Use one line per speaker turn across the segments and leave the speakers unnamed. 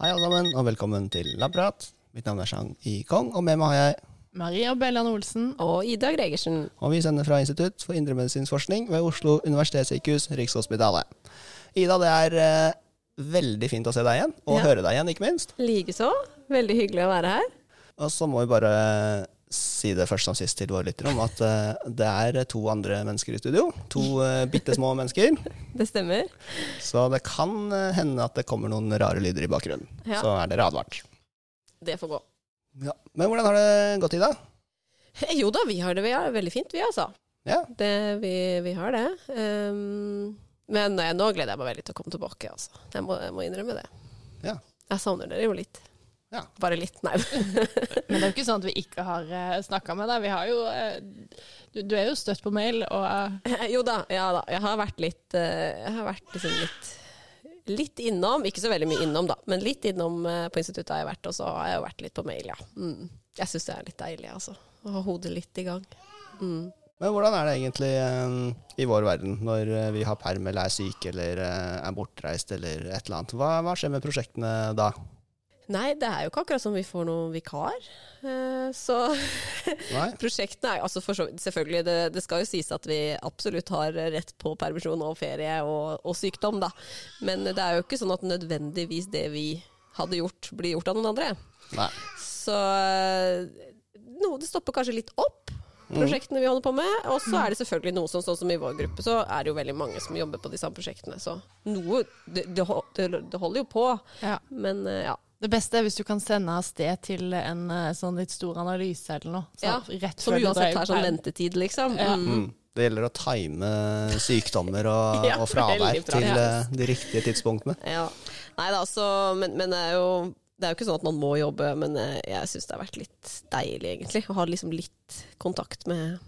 Hei, alle sammen, og velkommen til Labprat. Mitt navn er Chang I. Kong, og med meg har jeg
Maria Bellan Olsen.
Og Ida Gregersen.
Og vi sender fra Institutt for indremedisinsk forskning ved Oslo universitetssykehus, Rikshospitalet. Ida, det er eh, veldig fint å se deg igjen, og
Ja.
høre deg igjen, ikke minst.
Likeså. Veldig hyggelig å være her.
Og så må vi bare eh, si det først som sist til våre lyttere om at eh, det er to andre mennesker i studio. To uh, bitte små mennesker.
Det stemmer.
Så det kan eh, hende at det kommer noen rare lyder i bakgrunnen.
Ja.
Så er dere advart.
Det får gå.
Ja. Men hvordan har det gått, Ida?
Eh, Jo da, vi har det vi har. det veldig fint, vi altså.
Ja.
Det, vi, vi har det. Ehm, men eh, nå gleder jeg meg veldig til å komme tilbake, altså. Jeg må, jeg må innrømme det.
Ja.
Jeg savner dere jo litt.
Ja.
Bare litt, nei.
Men det er jo ikke sånn at vi ikke har uh, snakka med deg. Vi har jo eh, du, du er jo støtt på mail, og eh,
jo da, ja da. Jeg har vært litt eh, Jeg har vært liksom litt Litt innom, ikke så veldig mye innom da, men litt innom eh, på instituttet har jeg vært, og så har jeg jo vært litt på mail, ja. Mm. Jeg syns det er litt deilig, altså. Å ha hodet litt i gang. Mm.
Men hvordan er det egentlig eh, i vår verden når eh, vi har perm eller er syke eller eh, er bortreist eller et eller annet? Hva, hva skjer med prosjektene da?
Nei, det er jo ikke akkurat som vi får noen vikar. Eh, Så
Nei?
prosjektene er altså for så vidt Selvfølgelig, det, det skal jo sies at vi absolutt har rett på permisjon og ferie og, og sykdom, da. Men det er jo ikke sånn at nødvendigvis det vi hadde gjort, blir gjort av noen andre.
Nei.
Så eh, noe det stopper kanskje litt opp,
Mm.
prosjektene vi holder på med. Og så er det selvfølgelig noe som, sånn som i vår gruppe, så er det jo veldig mange som jobber på de samme prosjektene. Så noe Det, det, hol- det, det holder jo på,
ja.
men eh, ja.
det beste er hvis du kan sende av sted til en eh, sånn litt stor analyse eller noe. Så,
Ja,
rett
Som
før du
uansett
drar i
er sånn
perm.
ventetid, liksom.
Ja.
Mm.
Mm. Det gjelder å time sykdommer og,
Ja,
og fravær
veldig bra.
til
Ja.
eh, de riktige tidspunktene.
Ja. Nei da, så Men, men det, er jo, det er jo ikke sånn at man må jobbe, men eh, jeg syns det har vært litt deilig, egentlig. Å ha liksom litt kontakt med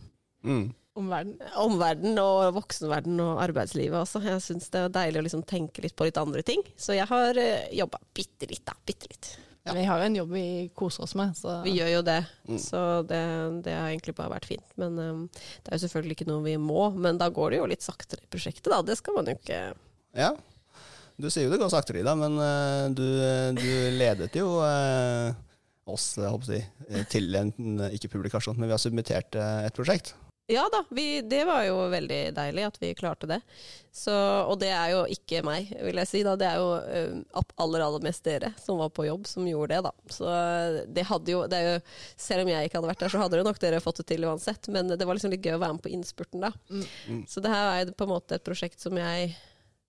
Mm.
Omverden.
omverdenen og voksenverdenen og arbeidslivet også. Jeg syns det er deilig å liksom tenke litt på litt andre ting. Så jeg har uh, jobba bitte litt, da. Bitte litt.
Ja.
Vi har jo en jobb vi koser oss med, så
Vi gjør jo det.
Mm.
Så det, det har egentlig bare vært fint. Men eh, det er jo selvfølgelig ikke noe vi må. Men da går det jo litt saktere i prosjektet, da. Det skal man jo ikke
Ja. Du sier jo det går saktere, Ida, men eh, du, du ledet jo eh, oss jeg håper å si, eh, til en ikke publikasjon, men vi har submittert eh, et prosjekt.
Ja da, vi, det var jo veldig deilig at vi klarte det. Så, og det er jo ikke meg, vil jeg si. da. Det er jo eh, opp- aller aller mest dere som var på jobb, som gjorde det. da. Så eh, det hadde jo, det er jo Selv om jeg ikke hadde vært der, så hadde jo nok dere fått det til uansett. Men det var liksom litt gøy å være med på innspurten da. Så det her er jo på en måte et prosjekt som jeg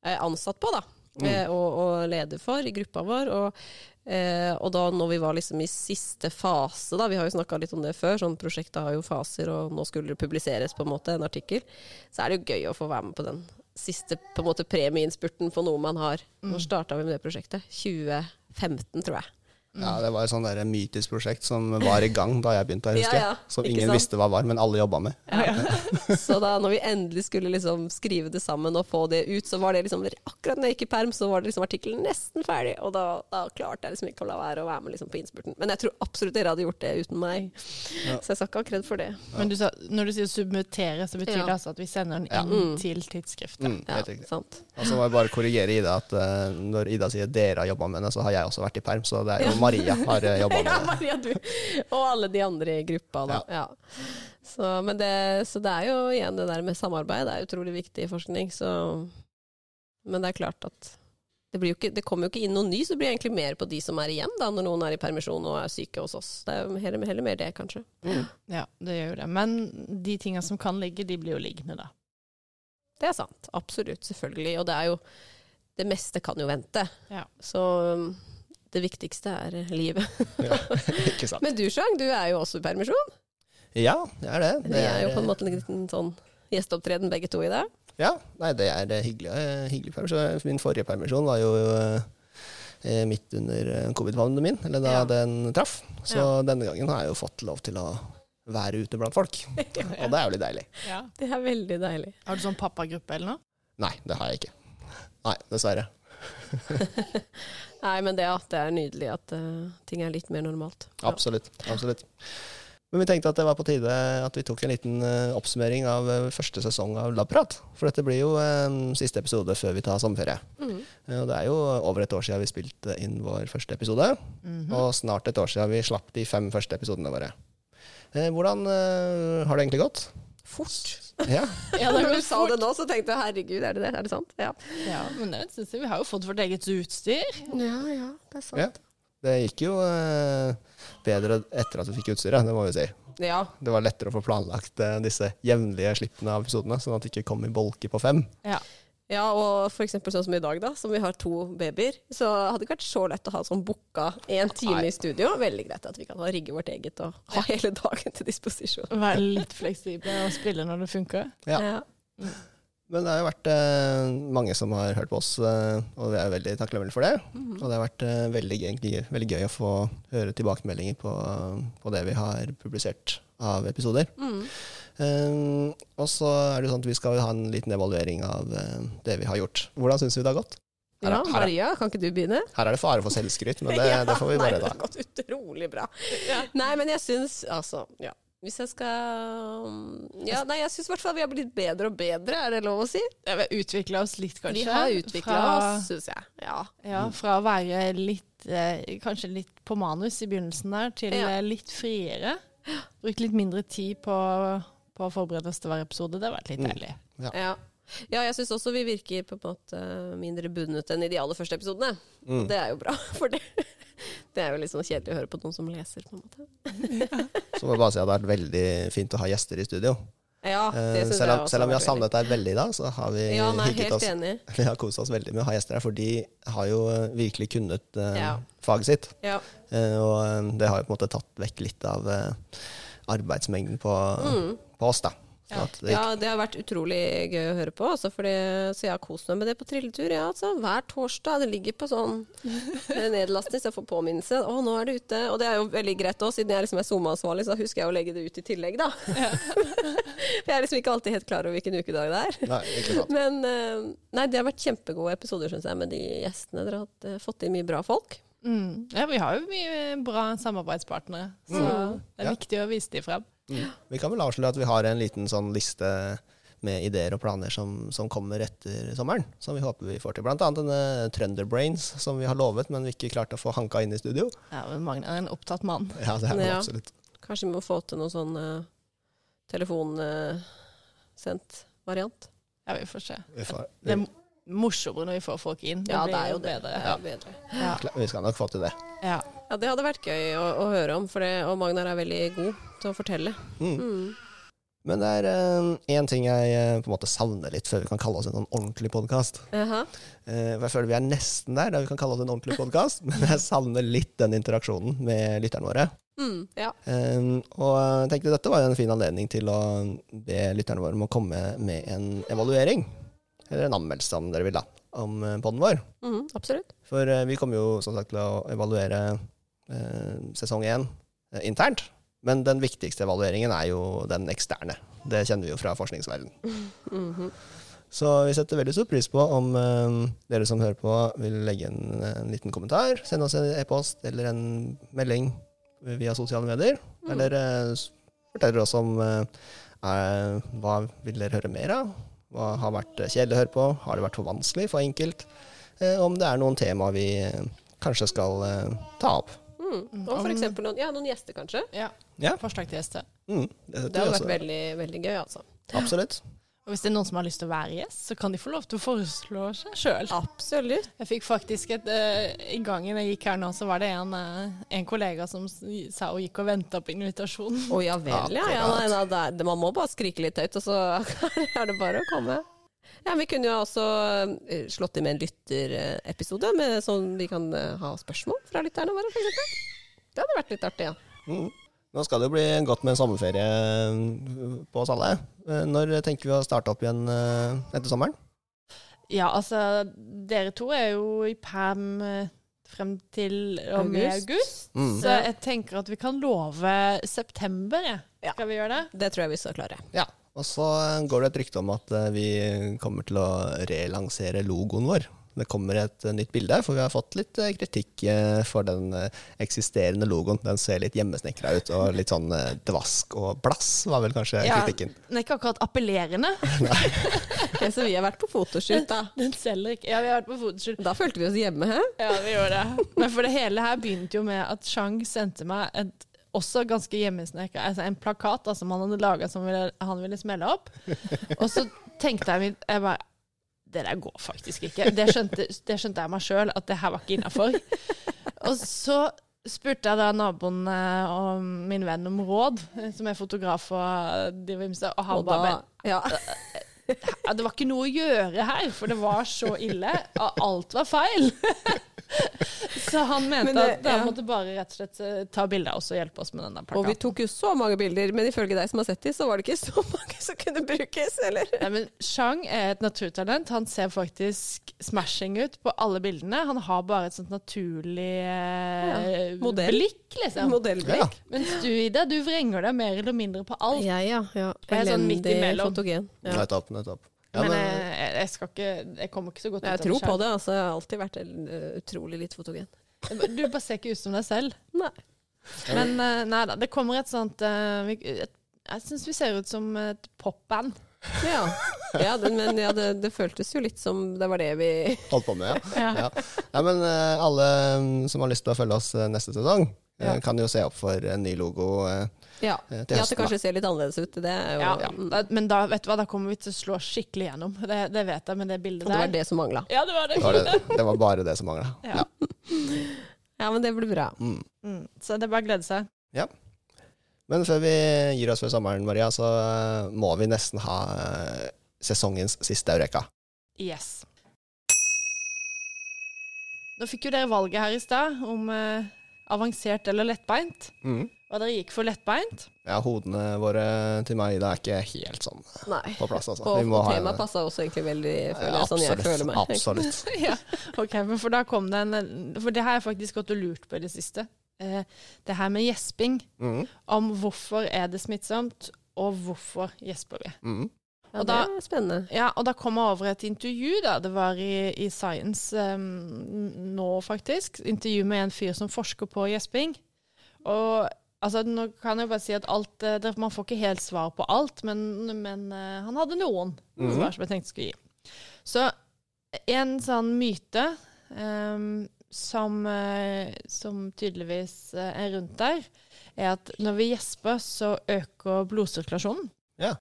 er ansatt på, da. eh, Og, og leder for i gruppa vår. Og, eh, og da når vi var liksom i siste fase, da, vi har jo snakka litt om det før, sånn prosjektet har jo faser, og nå skulle det publiseres på en måte en artikkel, så er det jo gøy å få være med på den siste på en måte premieinnspurten på noe man har. Når starta vi med det prosjektet? 2015, tror jeg.
Ja, Det var et sånn der mytisk prosjekt som var i gang da jeg begynte, her, husker
Ja, ja.
jeg. Som
Ikke
ingen
sant?
visste hva var, men alle jobba med.
Så da når vi endelig skulle liksom skrive det sammen og få det ut, så var det liksom akkurat når jeg gikk i perm, så var det liksom artikkelen nesten ferdig. Og da, da klarte jeg liksom ikke å la være å være med liksom på innspurten. Men jeg tror absolutt dere hadde gjort det uten meg. Så jeg skal ikke ha kred for det.
Men du sa, når du sier submittere, så betyr
Ja.
det altså at vi sender den
Ja.
inn til tidsskriftet.
Mm,
Ja,
helt riktig.
sant.
Og så må jeg bare korrigere Ida at eh, når Ida sier dere har jobba med det, så har jeg også vært i perm, så det er jo
Ja.
Maria har uh, jobba
Ja,
med det.
Maria, du. Og alle de andre i gruppa, da. Ja. Så, men det, så det er jo igjen det der med samarbeid, det er utrolig viktig i forskning. Så. Men det er klart at det, blir jo ikke, det kommer jo ikke inn noe ny, så det blir egentlig mer på de som er igjen, da, når noen er i permisjon og er syke hos oss. Det er jo heller, heller mer det, kanskje.
Ja, det gjør jo det. Men de tinga som kan ligge, de blir jo liggende, da.
Det er sant. Absolutt. Selvfølgelig. Og det er jo Det meste kan jo vente.
Ja.
Så um, det viktigste er eh, livet.
Ja, ikke sant.
Men du, Sjang, du er jo også i permisjon.
Ja, det er eh, det.
Vi
det
er jo på en måte en liten sånn gjesteopptreden begge to i dag.
Ja, nei, det er eh, hyggelig. eh, hyggelig permisjon. Min forrige permisjon var jo eh, midt under eh, covid-pandemien, eller da
Ja.
den traff. Så
Ja.
denne gangen har jeg jo fått lov til å være ute blant folk, og det er jo litt deilig.
Det er veldig deilig.
Har du sånn pappagruppe eller noe?
Nei, det har jeg ikke. Nei, dessverre.
Nei, men det, at det er nydelig at eh, ting er litt mer normalt. Ja.
Absolutt. absolutt. Men vi tenkte at det var på tide at vi tok en liten eh, oppsummering av eh, første sesong av Labprat. For dette blir jo eh, siste episode før vi tar sommerferie.
Mm.
Eh, Og det er jo over et år siden vi spilte inn vår første episode.
Mm.
Og snart et år siden vi slapp de fem første episodene våre. Eh, Hvordan eh, har det egentlig gått?
Fort.
Ja.
Ja, det
Når
går
du sa
fort.
det nå, så tenkte jeg herregud, er det det? Er det sant? Ja.
Ja, men det synes jeg vi har jo fått vårt eget utstyr.
ja, ja, det er
Ja. Det gikk jo eh, bedre etter at vi fikk utstyret, det må vi si.
Ja.
Det var lettere å få planlagt eh, disse jevnlige slippene av episodene, sånn at det ikke kom i bolker på fem.
Ja.
ja, og for eksempel sånn som i dag, da, som vi har to babyer, så hadde det ikke vært så lett å ha sånn booka en time
Nei.
i studio. Veldig greit at vi kan ha rigge vårt eget og ha hele dagen til disposisjon.
Være litt fleksible og spille når det funker.
Ja. Men det har jo vært eh, mange som har hørt på oss, eh, og vi er veldig takknemlige for det. Og det har vært eh, veldig, gøy- egentlig, veldig gøy å få høre tilbakemeldinger på, på det vi har publisert av episoder.
Mm.
Eh, og så er det jo sånn at vi skal ha en liten evaluering av eh, det vi har gjort. Hvordan syns vi det har gått? Her er-
ja,
her er-
Maria, kan ikke du begynne?
Her er det fare for selvskryt, men det,
Ja,
det får vi
nei,
bare
Det
ta.
har gått utrolig bra. Nei, men jeg syns altså ja. Hvis jeg skal mm, ja, Nei, jeg syns i hvert fall vi har blitt bedre og bedre, er det lov å si?
Ja, Vi har utvikla oss litt, kanskje.
Vi har utvikla
fra,
oss, syns jeg. Ja.
Ja, fra å være litt eh, kanskje litt på manus i begynnelsen der, til
Ja.
eh, litt friere. Brukt litt mindre tid på, på å forberede oss til hver episode. Det har vært litt deilig.
Ja. ja, jeg syns også vi virker på en måte mindre bundet enn i de aller første episodene.
Mm.
Det er jo bra, for det, det er jo litt sånn kjedelig å høre på noen som leser, på en måte.
Så må jeg bare si at det har vært veldig fint å ha gjester i studio.
Ja, Ah, det
Eh,
synes
selv,
jeg
om,
også
selv om vi har
har vært veldig-
savnet deg veldig i dag, så har vi
Ja, nei,
hygget
helt
oss.
enig.
Vi har kost oss veldig med å ha gjester her, for de har jo eh, virkelig kunnet eh,
Ja.
faget sitt.
Ja.
Eh, og eh, det har jo på en måte tatt vekk litt av eh, arbeidsmengden på, på oss, da. Sånn at det,
Mm. Ja, det har vært utrolig gøy å høre på. Også fordi, så jeg har kost meg med det på trilletur. Ja, altså, hver torsdag. Det ligger på sånn nedlastning, så jeg får påminnelse. Å, nå er det ute. Og det er jo veldig greit òg, siden jeg liksom er SoMe-ansvarlig, så husker jeg å legge det ut i tillegg, da. For jeg er liksom ikke alltid helt klar over hvilken ukedag det er.
Nei, ikke sant.
Men eh, nei, det har vært kjempegode episoder, syns jeg, med de gjestene dere har hatt. eh, fått inn mye bra folk.
Mm. Ja, vi har jo mye bra samarbeidspartnere, så det er
Ja.
viktig å vise dem frem.
Mm. Vi kan vel avsløre at vi har en liten sånn liste med ideer og planer som, som kommer etter sommeren, som vi håper vi får til. Blant annet denne Trønderbrains, som vi har lovet, men vi ikke klarte å få hanka inn i studio.
Ja, men Magne er en opptatt mann.
Ja, det er vi
Ja.
absolutt.
Kanskje vi må få til noen sånn uh, telefonsendt variant.
Ja, vi får se.
Vi, får,
Det
vi,
er morsommere når vi får folk inn.
Ja,
blir
det er jo det.
bedre.
det er jo bedre.
Ja.
vi skal nok få til det.
Ja.
Ja, det hadde vært gøy å, å høre om, for det, og Magnar er veldig god til å fortelle.
Mm.
Mm.
Men det er én ting jeg eh, på en måte savner litt før vi kan kalle oss en sånn ordentlig podkast.
Jaha.
Jeg føler vi er nesten der, der vi kan kalle oss en ordentlig podkast, men jeg savner litt den interaksjonen med lytterne våre.
Mm, ja.
Eh, Og jeg tenkte dette var jo en fin anledning til å be lytterne våre om å komme med en evaluering, eller en anmeldelse om dere vil, da, om eh, podden vår.
Mm, absolutt.
For eh, vi kommer jo som sagt til å evaluere eh, sesong én eh, internt. Men den viktigste evalueringen er jo den eksterne. Det kjenner vi jo fra forskningsverdenen.
Mhm.
Så vi setter veldig stor pris på om eh, dere som hører på, vil legge en, en liten kommentar. Send oss en e-post eller en melding via sosiale medier.
Mm.
Eller eh, s- forteller oss om eh, er, hva vil dere høre mer av. Hva har vært kjedelig å høre på? Har det vært for vanskelig for enkelt? Eh, om det er noen tema vi eh, kanskje skal eh, ta opp.
mm. Og for eksempel noen, ja, noen gjester, kanskje.
Ja.
Ja.
Forslag til gjester.
Mm, det setter
Det hadde
vi
vært
også-
veldig, veldig gøy, altså.
Absolutt.
Og hvis det er noen som har lyst til å være gjest, så kan de få lov til å foreslå seg sjøl.
Absolutt.
Jeg fikk faktisk et eh, I gangen jeg gikk her nå, så var det en, eh, en kollega som s- sa hun gikk og venta på invitasjon.
Å ja vel, ja. ja nei, nei, det er- man må bare skrike litt høyt, og så er det bare å komme. Ja, Vi kunne jo også eh, slått i med en lytterepisode, med- sånn vi kan eh, ha spørsmål fra lytterne våre, f.eks. Det hadde vært litt artig, ja.
Mm. Nå skal det jo bli godt med en sommerferie eh, på oss alle. Eh, Når tenker vi å starte opp igjen eh, etter sommeren?
Ja, altså, dere to er jo i perm eh, frem til og med
August.
august.
Mm.
Så jeg tenker at vi kan love september, jeg.
Ja.
Skal vi gjøre det?
Det tror jeg vi skal klare.
Ja. Og så går det et rykte om at eh, vi kommer til å relansere logoen vår. det kommer et eh, nytt bilde, for vi har fått litt eh, kritikk eh, for den eh, eksisterende logoen. Den ser litt hjemmesnekra ut, og litt sånn eh, dvask og blass var vel kanskje
Ja,
kritikken.
Den er ikke akkurat appellerende.
Ok, så vi har vært på fotoshoot, da.
Den selger ikke. Ja, vi har vært på fotoshoot.
Da følte vi oss hjemme, hæ?
Ja, vi gjorde det. Men for det hele her begynte jo med at Chang sendte meg et også ganske hjemmesnekra altså en plakat da, som han hadde laga som ville, han ville smelle opp. Og så tenkte jeg, mitt- jeg bare Det der går faktisk ikke. Det skjønte, det skjønte jeg meg sjøl, at det her var ikke innafor. Og så spurte jeg da naboen eh, og min venn om råd, eh, som er fotograf og driver med seg, og han
Og
bare
da, ja.
ja, det var ikke noe å gjøre her, for det var så ille. og Alt var feil. Så han mente
Men det-
at da
ja.
måtte bare rett og slett eh, ta bilde av oss og hjelpe oss med denne
Og vi
plakaten.
tok jo så mange bilder, men ifølge deg som har sett de, så var det ikke så mange som kunne brukes, eller?
Nei, men Chang er et naturtalent. Han ser faktisk smashing ut på alle bildene. Han har bare et sånt naturlig eh,
Ja, modell.
blikk, liksom.
Ja.
Modellblikk.
Mens du, Ida, du vrenger deg mer eller mindre på alt.
Ja, ja. ja.
Jeg er sånn midt
Elendig
imellom.
fotogen. Ja.
Nettopp, nettopp. Ja,
men eh,
men,
jeg, jeg skal ikke Jeg kommer ikke så godt ut av
Jeg tror på
Chang.
det, altså. Jeg har alltid vært eh, utrolig litt fotogen.
Du bare ser ikke ut som deg selv.
Nei.
Men eh, nei da, det kommer et sånt eh, vi- et, Jeg syns vi ser ut som et popband.
Ja, ja det, men ja, det, det føltes jo litt som det var det vi
Holdt på med, ja.
Ja.
ja. Nei, men eh, alle mm, som har lyst til å følge oss eh, neste sesong, eh,
Ja.
kan jo se opp for en ny logo eh,
Ja.
eh, til
ja at det
høsten. da.
kanskje ser litt annerledes ut. Det er jo
Ja,
mm.
da, men da vet du hva, da kommer vi til å slå skikkelig gjennom. Det, det vet jeg med det bildet
Og det
der.
var det som mangla.
Ja, det var det.
Det var, det, det var bare det som mangla.
Ja.
Ja.
Ja, men det blir bra.
Mm.
Mm, så det er bare å glede seg.
Men før vi gir oss før sommeren, Maria, så eh, må vi nesten ha eh, sesongens siste Eureka.
Yes. Nå fikk jo dere valget her i stad om eh, avansert eller lettbeint.
Mm.
Og dere gikk for lettbeint.
Ja, hodene våre til meg da er ikke helt sånn
Nei.
på plass, altså.
Og
ha en-
temaet passa også egentlig veldig,
Ja,
føler jeg, sånn jeg føler meg.
Absolutt.
ja, ok, men for da kom det en For det har jeg faktisk gått og lurt på i det siste. Eh, det her med gjesping.
Mm.
om hvorfor er det smittsomt, og hvorfor gjesper vi.
Mm.
Ja,
Og
det
da-
er spennende.
Ja, og da kom jeg over et intervju, da. Det var i, i Science em, nå, faktisk. Intervju med en fyr som forsker på gjesping. Og altså, nå kan jeg bare si at alt eh, det- Man får ikke helt svar på alt, men, men eh, han hadde noen
Mhm.
svar som jeg tenkte skulle gi. Så en sånn myte em, Ehm, som, eh, som tydeligvis eh, er rundt der, er at når vi gjesper, så øker blodsirkulasjonen.
Ja.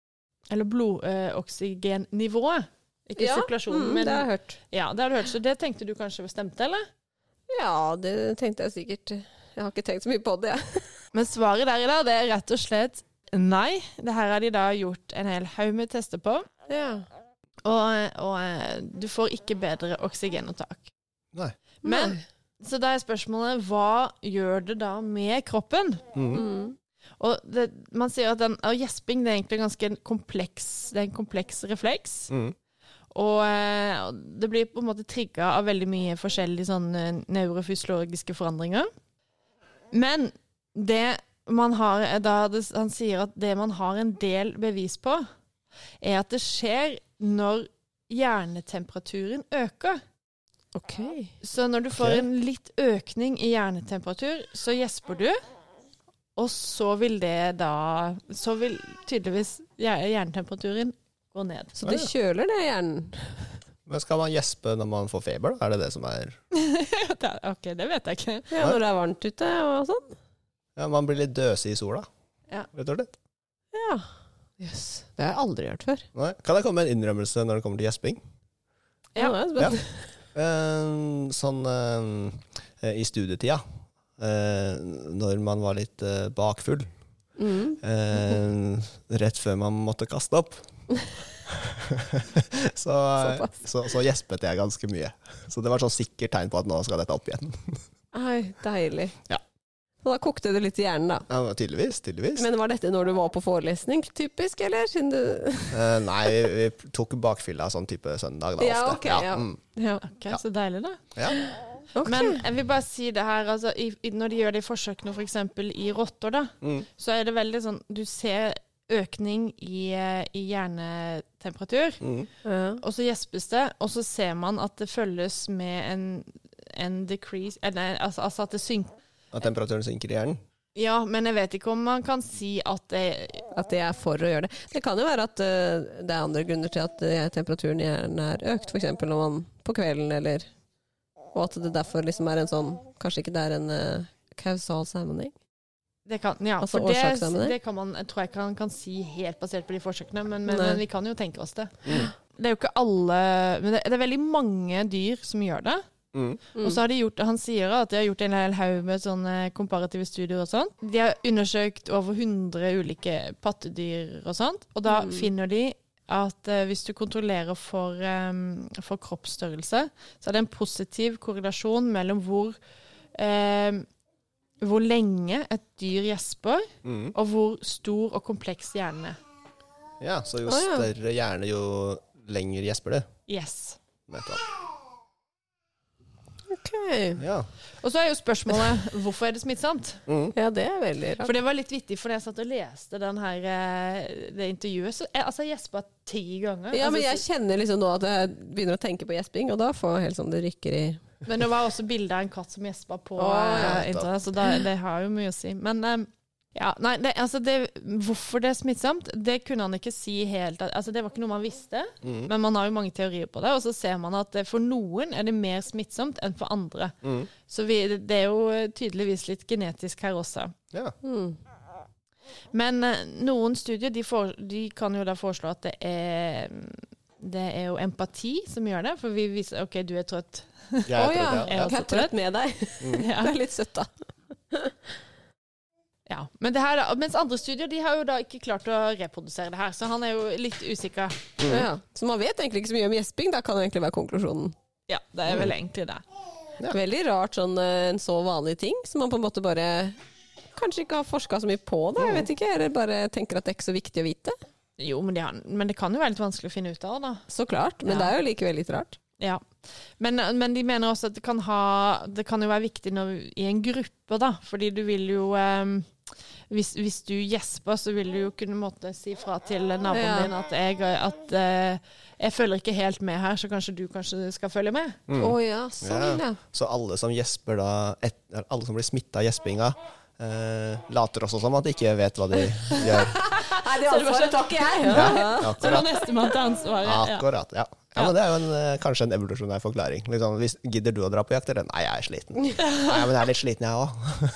Eller blodoksygennivået. Ikke
Ja,
sirkulasjonen,
Mm,
men
det har jeg hørt.
ja, det har du hørt. Så det tenkte du kanskje stemte, eller?
Ja, det tenkte jeg sikkert. Jeg har ikke tenkt så mye på det, jeg.
Men svaret der i dag, det er rett og slett nei. Det her har de da gjort en hel haug med tester på.
Ja.
Og, og eh, du får ikke bedre oksygenopptak.
Nei.
Men så da er spørsmålet hva gjør det da med kroppen?
Mm.
mm.
Og det, man sier at den, og gjesping det er egentlig ganske en kompleks, det er en kompleks refleks.
Mm.
Og eh, og det blir på en måte trigga av veldig mye forskjellige sånne neurofysiologiske forandringer. Men det man har er da, det, Han sier at det man har en del bevis på, er at det skjer når hjernetemperaturen øker.
OK.
Så når du får
Ok.
en litt økning i hjernetemperatur, så gjesper du. Og så vil det da Så vil tydeligvis hjer- hjernetemperaturen gå ned.
Så det kjøler det hjernen.
Men skal man gjespe når man får feber, da? Er det det som er
Det er- OK, det vet jeg ikke.
Ja, når det er varmt ute og sånn.
Ja, man blir litt døsig i sola,
Ja.
rett og slett.
Ja. Jøss. Det har jeg aldri hørt før.
Nei. Kan jeg komme med en innrømmelse når det kommer til gjesping?
Ja.
det er spennende.
Eh, sånn eh, i studietida, eh, når man var litt eh, bakfull,
Mm.
eh, rett før man måtte kaste opp, så,
Såpass.
så, så gjespet jeg ganske mye. Så det var sånn sikkert tegn på at nå skal dette opp igjen.
Ai, deilig.
Ja.
Så da kokte det litt i hjernen, da.
Ja, men tydeligvis, tydeligvis.
Men var dette når du var på forelesning, typisk, eller? Siden du
Eh, nei, vi, vi tok bakfylla sånn type søndag da,
Ja,
ofte.
ok, ja.
Mm,
Ja.
Ok, Så deilig, da.
ja.
Ok.
Men jeg vil bare si det her, altså, i, i, når de gjør de forsøkene f.eks. i rotter, da,
Mm.
så er det veldig sånn Du ser økning i, eh, i hjernetemperatur.
Mm.
Ja.
Og så gjespes det, og så ser man at det følges med en, en decrease Eller altså, altså at det synker
At temperaturen synker i hjernen.
Ja, men jeg vet ikke om man kan si at det
At de er for å gjøre det. Det kan jo være at eh, det er andre grunner til at eh, temperaturen i hjernen er økt, f.eks. når man på kvelden eller Og at det derfor liksom er en sånn Kanskje ikke det er en eh, kausal sammenheng.
det kan, ja,
Altså
for det,
årsakssammenheng?
det kan man, jeg tror jeg ikke man kan si helt basert på de forsøkene, men, men,
Nei. Mm.
men vi kan jo tenke oss det. Det er jo ikke alle Men det, det er veldig mange dyr som gjør det.
Mm.
Og så har de gjort, Han sier at de har gjort en hel haug med sånne komparative studier. og sånt. De har undersøkt over 100 ulike pattedyr og sånt. Og da
Mm.
finner de at eh, hvis du kontrollerer for, eh, for kroppsstørrelse, så er det en positiv korrelasjon mellom hvor eh, hvor lenge et dyr gjesper,
Mm.
og hvor stor og kompleks hjernen er.
Ja, så jo
Å, ja.
større hjerne, jo lenger gjesper det.
Yes.
Nettopp.
Ok.
Ja.
Og så er jo spørsmålet hvorfor er det smittsomt?
Mm.
Ja, det er veldig rart.
For det var litt vittig, for da jeg satt og leste den her, eh, det intervjuet, så jeg, altså, jeg gjespa ti ganger.
Ja, men jeg
altså,
kjenner liksom nå at jeg begynner å tenke på gjesping, og da får jeg helt sånn det rykker i
så, men det var også bilde av en katt som gjespa på
Å, ja,
eh, internett, så da, det har jo mye å si. Men eh, ja, nei, det, altså det, hvorfor det er smittsomt, det kunne han ikke si helt. Altså, det var ikke noe man visste,
Mm.
men man har jo mange teorier på det. Og så ser man at eh, for noen er det mer smittsomt enn for andre.
Mm.
Så vi, det er jo tydeligvis litt genetisk her også.
ja.
Mm.
Men eh, noen studier de, for, de kan jo da foreslå at det er det er jo empati som gjør det, for vi viser OK, du er trøtt.
Jeg
Å
tror
ja,
det, ja.
Jeg er
jeg
også
er trøtt med deg.
Ja.
Det er litt søtt, da.
ja. Men det her, da- mens andre studier de har jo da ikke klart å reprodusere det her, så han er jo litt usikker.
Ja. Så man vet egentlig ikke så mye om gjesping, da kan det egentlig være konklusjonen.
Ja, det er vel egentlig det.
Ja.
Veldig rart sånn eh, en så vanlig ting, som man på en måte bare kanskje ikke har forska så mye på, da. Jeg vet ikke, eller bare tenker at det er ikke så viktig å vite.
Jo, men det, er- men det kan jo være litt vanskelig å finne ut av, da.
Så klart, men
Ja.
det er jo likevel litt rart.
Ja. Men, men de mener også at det kan, ha, det kan jo være viktig når, i en gruppe, da. Fordi du vil jo em, hvis, hvis du gjesper, så vil du jo kunne måtte si fra til naboen
Ja.
din at, jeg, at eh, jeg følger ikke helt med her, så kanskje du kanskje skal følge med.
Å ja, sånn, ja.
Mm. Ja. Så alle som gjesper da et, Alle som blir smitta av gjespinga, eh, later også som at de ikke vet hva de gjør.
Nei, det
ansvaret
tar ikke jeg!
Ja,
Så det er
akkurat.
nestemann til ansvaret. Ja.
Akkurat, ja. ja men det er jo en, eh, kanskje en evolusjonær forklaring. Liksom, hvis, gidder du å dra på jakt, eller? Nei, jeg er sliten. Nei, men jeg er litt sliten, jeg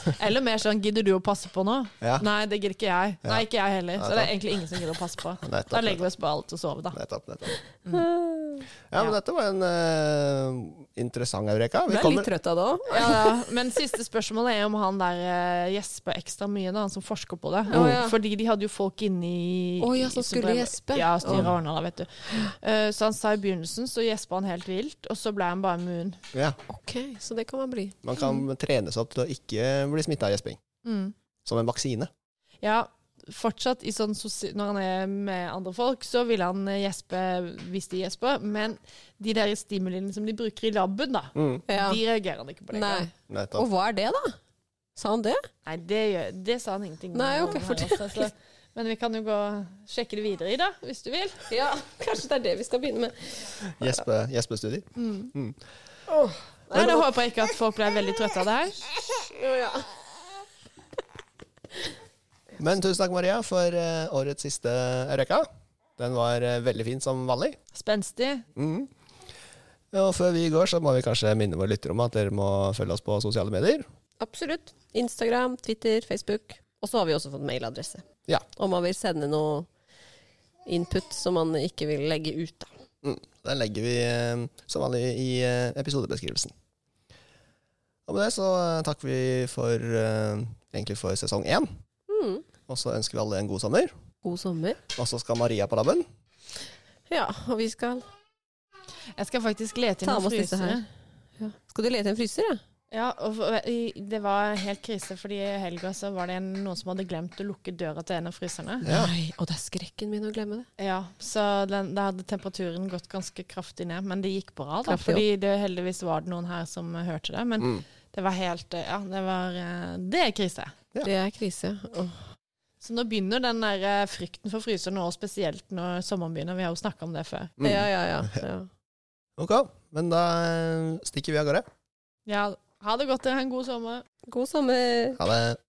òg.
Eller mer sånn 'gidder du å passe på nå?'
Ja.
Nei, det gidder ikke jeg. Nei, ikke jeg heller. Så det er egentlig ingen som gidder å passe på.
Nettopp,
Da legger vi oss bare alt og sover, da.
Nettopp, nettopp.
Mm.
Ja, men dette var en eh, interessant eureka.
Du
Vi
er litt
kommer,
trøtt av det òg.
Ja, ja. Men siste spørsmålet er om han der eh, gjesper ekstra mye, da, han som forsker på det.
Å, ja.
Fordi de hadde jo folk inne i
Å, ja, som skulle
drev-
gjespe.
Ja, styret ordna det, vet du. Eh, så han sa i begynnelsen så gjespa han helt vilt, og så ble han bare immun.
ja,
Ok, så det kan man bli.
man kan trenes opp til å ikke bli smitta av gjesping.
Mm.
Som en vaksine.
Ja, fortsatt i sånn sosi når han er med andre folk, så vil han eh, gjespe hvis de gjesper, men de der stimuliene som de bruker i laben, da,
Mm,
Ja.
de reagerer han ikke på. det
Nei.
engang.
nettopp.
Og hva er det, da? Sa han det?
Nei, det, gjør, det sa han ingenting om.
Nei, ok,
her,
for det
altså, så- Men vi kan jo gå og sjekke det videre i, da, hvis du vil.
Ja, kanskje det er det vi skal begynne med.
Gjespe, gjespestudier.
Nei, Da håper jeg ikke at folk ble veldig trøtte av det her.
Men tusen takk, Maria, for eh, årets siste Eureka. Den var eh, veldig fin som vanlig.
Spenstig.
Og før vi går, så må vi kanskje minne våre lyttere om at dere må følge oss på sosiale medier.
Absolutt. Instagram, Twitter, Facebook. Og så har vi også fått mailadresse.
Ja.
Om man vil sende noe input som man ikke vil legge ut. Da.
Mm. Den legger vi eh, som vanlig i eh, episodebeskrivelsen. Og med det så eh, takker vi for, eh, egentlig for sesong én.
Mm.
Og så ønsker vi alle en god sommer.
God sommer.
Og så skal Maria på laben.
Ja, og vi skal
Jeg skal faktisk lete i
Ta
noen
med oss disse
frysere.
her. Skal du lete i en fryser, ja?
Ja, og for- i- det var helt krise, fordi i helga så var det en, noen som hadde glemt å lukke døra til en av fryserne.
Nei, og det er skrekken min å glemme det.
Ja, så den, da hadde temperaturen gått ganske kraftig ned, men det gikk bra, da.
Kraftig
Fordi det heldigvis var det noen her som hørte det. Men
Mm.
det var helt eh, Ja, det var eh, Det er krise.
Ja.
Det er krise. Åh.
Så nå begynner den der eh, frykten for fryseren, og spesielt når sommeren begynner. Vi har jo snakka om det før.
Mm.
Ja, ja, ja. ja.
Ok, men da stikker vi av gårde.
Ja, ha det godt, dere. Ha en god sommer.
God sommer.
Ha det.